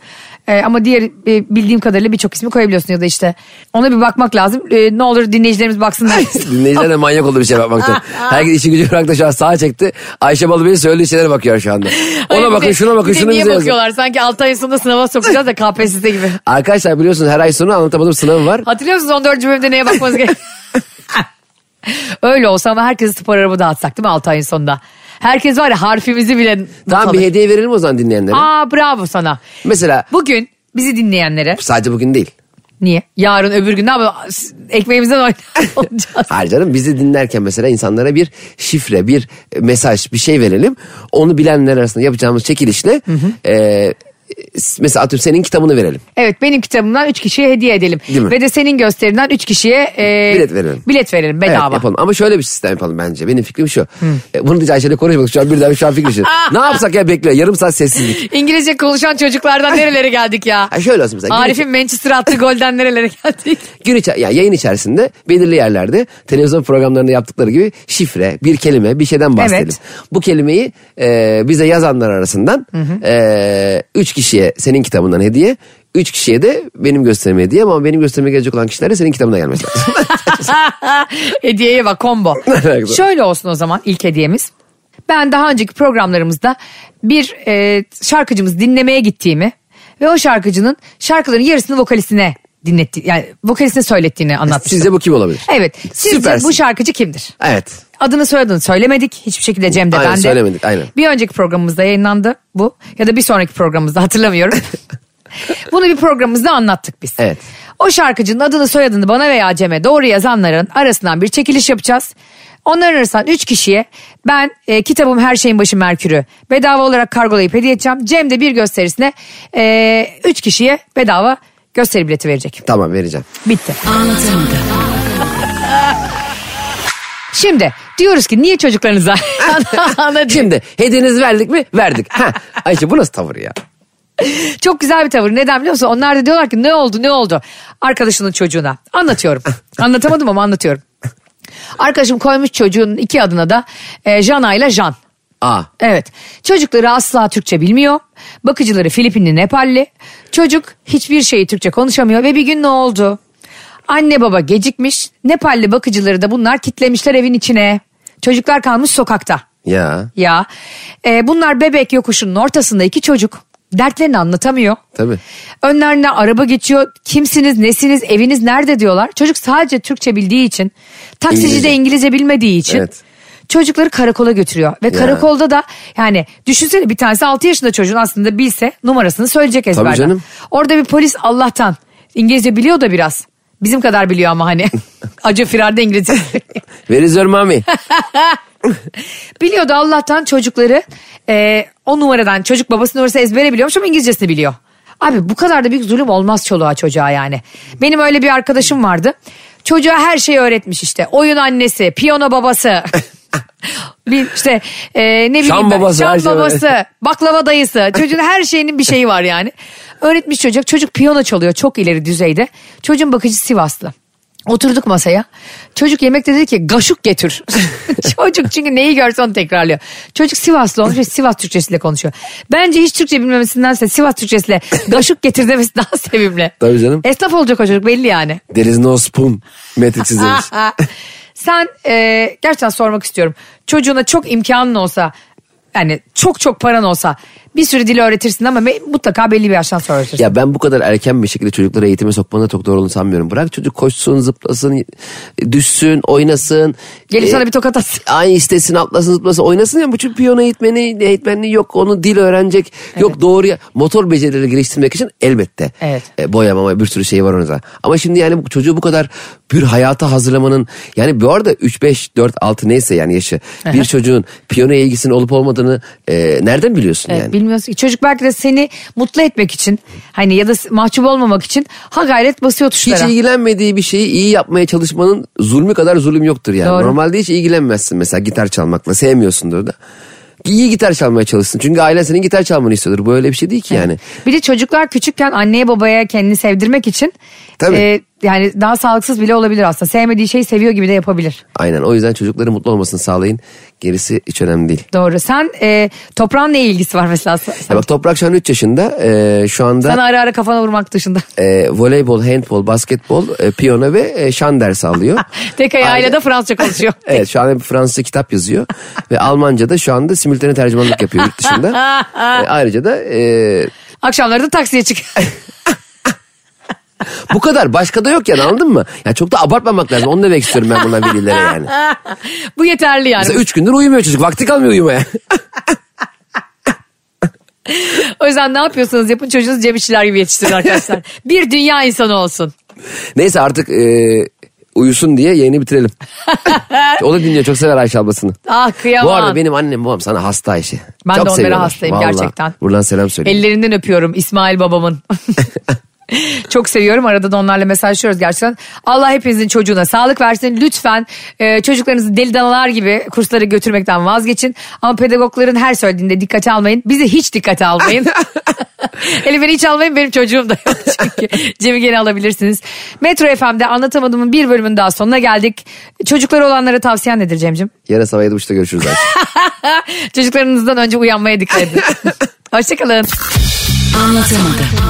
S2: Ee, ama diğer e, bildiğim kadarıyla birçok ismi koyabiliyorsun ya da işte ona bir bakmak lazım. Ee, ne olur dinleyicilerimiz baksınlar.
S3: Dinleyiciler de manyak oldu bir şey bakmaktan. Herkes işi gücü bıraktı şu an sağa çekti. Ayşe Balıbey'in söylediği şeylere bakıyor şu anda. Ona
S2: Hayır, bir
S3: bakın
S2: de-
S3: şuna bakın
S2: bir de
S3: şunu
S2: niye
S3: bize yazın.
S2: bakıyorlar? Sanki 6 ay sonunda sınava sokacağız da KPSS gibi.
S3: Arkadaşlar biliyorsunuz her ay sonu anlatamadım sınavı var.
S2: Hatırlıyor musunuz 14. bölümde neye bakmanız gerek? Öyle olsa ama herkesi spor araba dağıtsak değil mi 6 ayın sonunda? Herkes var ya harfimizi bile not
S3: Tamam
S2: alır.
S3: bir hediye verelim o zaman dinleyenlere.
S2: Aa bravo sana.
S3: Mesela
S2: Bugün bizi dinleyenlere
S3: sadece bugün değil.
S2: niye? Yarın öbür gün ne yapalım? Ekmeğimizden oynayacağız.
S3: Hayır canım bizi dinlerken mesela insanlara bir şifre, bir mesaj, bir şey verelim. Onu bilenler arasında yapacağımız çekilişle e, mesela atıyorum senin kitabını verelim.
S2: Evet benim kitabımdan 3 kişiye hediye edelim.
S3: Değil mi?
S2: Ve de senin gösterinden 3 kişiye e,
S3: Bilet verelim.
S2: Bilet verelim
S3: Evet,
S2: bedava.
S3: yapalım. Ama şöyle bir sistem yapalım bence. Benim fikrim şu. E, bunu diyeceğim Ayşe'yle konuşmadık. Şu an birden şu an fikir şu. ne yapsak ya bekliyor. Yarım saat sessizlik.
S2: İngilizce konuşan çocuklardan nerelere geldik ya?
S3: Ha, şöyle olsun mesela. Gün
S2: Arif'in Manchester attığı golden nerelere geldik?
S3: gün içi- ya yayın içerisinde belirli yerlerde televizyon programlarında yaptıkları gibi şifre, bir kelime, bir şeyden bahsedelim.
S2: Evet.
S3: Bu kelimeyi e, bize yazanlar arasından e, üç kişiye senin kitabından hediye, üç kişiye de benim gösterime hediye ama benim gösterime gelecek olan kişiler de senin kitabına gelmesi lazım.
S2: Hediyeye bak combo.
S3: alaka?
S2: Şöyle olsun o zaman ilk hediyemiz. Ben daha önceki programlarımızda bir e, şarkıcımız dinlemeye gittiğimi ve o şarkıcının şarkıların yarısını vokalistine dinletti yani vokalistine söylettiğini anlatmıştım.
S3: Sizce bu kim olabilir?
S2: Evet. Sizce
S3: Süpersin.
S2: bu şarkıcı kimdir?
S3: Evet.
S2: Adını soyadını söylemedik. Hiçbir şekilde Cem de
S3: Aynen,
S2: ben de.
S3: söylemedik, aynen.
S2: Bir önceki programımızda yayınlandı bu. Ya da bir sonraki programımızda hatırlamıyorum. Bunu bir programımızda anlattık biz.
S3: Evet.
S2: O şarkıcının adını soyadını bana veya Cem'e doğru yazanların arasından bir çekiliş yapacağız. Onların arasından 3 kişiye ben e, kitabım Her Şeyin Başı Merkür'ü bedava olarak kargolayıp hediye edeceğim. Cem de bir gösterisine 3 kişiye bedava gösteri bileti verecek.
S3: Tamam vereceğim.
S2: Bitti.
S4: Anlatamadım.
S2: Şimdi diyoruz ki niye çocuklarınıza ana diye-
S3: Şimdi hediyenizi verdik mi? Verdik. Ha. Ayşe bu nasıl tavır ya?
S2: Çok güzel bir tavır. Neden biliyor musun? Onlar da diyorlar ki ne oldu ne oldu? Arkadaşının çocuğuna. Anlatıyorum. Anlatamadım ama anlatıyorum. Arkadaşım koymuş çocuğun iki adına da e, Jana ile Jan.
S3: Aa.
S2: Evet. Çocukları asla Türkçe bilmiyor. Bakıcıları Filipinli, Nepalli. Çocuk hiçbir şeyi Türkçe konuşamıyor ve bir gün ne oldu? Anne baba gecikmiş. Nepalli bakıcıları da bunlar kitlemişler evin içine. Çocuklar kalmış sokakta.
S3: Ya.
S2: Ya e, bunlar bebek yokuşunun ortasında iki çocuk dertlerini anlatamıyor.
S3: Tabii.
S2: Önlerine araba geçiyor. Kimsiniz, nesiniz, eviniz nerede diyorlar. Çocuk sadece Türkçe bildiği için, taksici de
S3: İngilizce.
S2: İngilizce bilmediği için.
S3: Evet.
S2: çocukları karakola götürüyor. Ve karakolda da yani düşünsene bir tanesi 6 yaşında çocuğun aslında bilse numarasını söyleyecek ezberden.
S3: canım.
S2: Orada bir polis Allah'tan İngilizce biliyor da biraz. Bizim kadar biliyor ama hani. Acı firarda İngilizce.
S3: Where is your mommy?
S2: biliyordu Allah'tan çocukları e, o numaradan çocuk babasının orası ezbere biliyormuş ama İngilizcesini biliyor. Abi bu kadar da büyük zulüm olmaz çoluğa çocuğa yani. Benim öyle bir arkadaşım vardı. Çocuğa her şeyi öğretmiş işte. Oyun annesi, piyano babası. bir işte e, ne bileyim
S3: Şam
S2: ben,
S3: babası, her
S2: Şam
S3: şey
S2: babası, baklava dayısı. Çocuğun her şeyinin bir şeyi var yani. Öğretmiş çocuk. Çocuk piyano çalıyor çok ileri düzeyde. Çocuğun bakıcısı Sivaslı. Oturduk masaya. Çocuk yemekte dedi ki gaşuk getir. Çocuk çünkü neyi görse onu tekrarlıyor. Çocuk Sivaslı olmuş ve Sivas Türkçesiyle konuşuyor. Bence hiç Türkçe bilmemesindense Sivas Türkçesiyle gaşuk getir demesi daha sevimli.
S3: Tabii canım.
S2: Esnaf olacak o çocuk belli yani.
S3: There is no spoon. Metri çizilmiş.
S2: Sen e, gerçekten sormak istiyorum. Çocuğuna çok imkanın olsa yani çok çok paran olsa bir sürü dil öğretirsin ama me- mutlaka belli bir yaştan sonra öğretirsin.
S3: Ya ben bu kadar erken bir şekilde çocukları eğitime sokmanın da çok doğru olduğunu sanmıyorum. Bırak çocuk koşsun, zıplasın, düşsün, oynasın.
S2: Gelip
S3: Ee,
S2: sana bir tokat atsın.
S3: Ay istesin, atlasın, zıplasın, oynasın ya. Bu çünkü piyano eğitmeni, eğitmenliği yok. Onu dil öğrenecek. Yok doğruya motor becerileri geliştirmek için elbette.
S2: Evet.
S3: E, boyama ama bir sürü şey var onun zaten. Ama şimdi yani bu çocuğu bu kadar bir hayata hazırlamanın yani bu arada 3, 5, 4, 6 neyse yani yaşı. bir çocuğun piyanoya ilgisinin olup olmadığını e, nereden biliyorsun
S2: Evet,
S3: yani?
S2: Bilmiyorsun. ki. Çocuk belki de seni mutlu etmek için hani ya da s- mahcup olmamak için ha gayret basıyor
S3: Hiç
S2: tuşlara.
S3: ilgilenmediği bir şeyi iyi yapmaya çalışmanın zulmü kadar zulüm yoktur yani.
S2: Doğru.
S3: Normalde hiç ilgilenmezsin mesela gitar çalmakla sevmiyorsundur da. İyi gitar çalmaya çalışsın. Çünkü ailen senin gitar çalmanı istiyordur. Bu öyle bir şey değil ki yani.
S2: Bir de çocuklar küçükken anneye babaya kendini sevdirmek için e,
S3: Tabii.
S2: yani daha sağlıksız bile olabilir aslında. Sevmediği şeyi seviyor gibi de yapabilir.
S3: Aynen o yüzden çocukların mutlu olmasını sağlayın. Gerisi hiç önemli değil.
S2: Doğru. Sen e, toprağın ne ilgisi var mesela?
S3: Ya bak Toprak şu an 3 yaşında. Ee, şu anda
S2: Sana ara ara kafana vurmak dışında.
S3: e, voleybol, handbol, basketbol, e, piyano ve e, şan dersi alıyor.
S2: Tek ayağıyla
S3: Aile-
S2: da Fransızca konuşuyor.
S3: Evet şu anda bir Fransızca kitap yazıyor ve Almanca'da şu anda simultane tercümanlık yapıyor yurt dışında. E, ayrıca da e,
S2: Akşamları da taksiye çık.
S3: Bu kadar. Başka da yok yani anladın mı? Ya çok da abartmamak lazım. Onu demek istiyorum ben buna velilere yani.
S2: Bu yeterli yani.
S3: Mesela üç gündür uyumuyor çocuk. Vakti kalmıyor uyumaya.
S2: O yüzden ne yapıyorsanız yapın çocuğunuz Cem İşçiler gibi yetiştirin arkadaşlar. bir dünya insanı olsun.
S3: Neyse artık e, uyusun diye yayını bitirelim. o da dinliyor. Çok sever Ayşe ablasını.
S2: Ah kıyamam.
S3: Bu arada benim annem babam sana hasta Ayşe.
S2: Ben
S3: çok
S2: de onlara
S3: seviyorlar.
S2: hastayım
S3: Vallahi.
S2: gerçekten.
S3: Buradan selam söyleyeyim.
S2: Ellerinden öpüyorum İsmail babamın. Çok seviyorum. Arada da onlarla mesajlaşıyoruz gerçekten. Allah hepinizin çocuğuna sağlık versin. Lütfen e, çocuklarınızı deli danalar gibi kurslara götürmekten vazgeçin. Ama pedagogların her söylediğinde dikkate almayın. Bizi hiç dikkate almayın. Hele beni hiç almayın benim çocuğum da yok çünkü. Cem'i geri alabilirsiniz. Metro FM'de anlatamadığımın bir bölümünün daha sonuna geldik. Çocukları olanlara tavsiyen nedir Cem'cim?
S3: Yarın sabah 7.30'da görüşürüz Ayşe.
S2: Çocuklarınızdan önce uyanmaya dikkat edin. Hoşçakalın.
S4: Anlatamadım.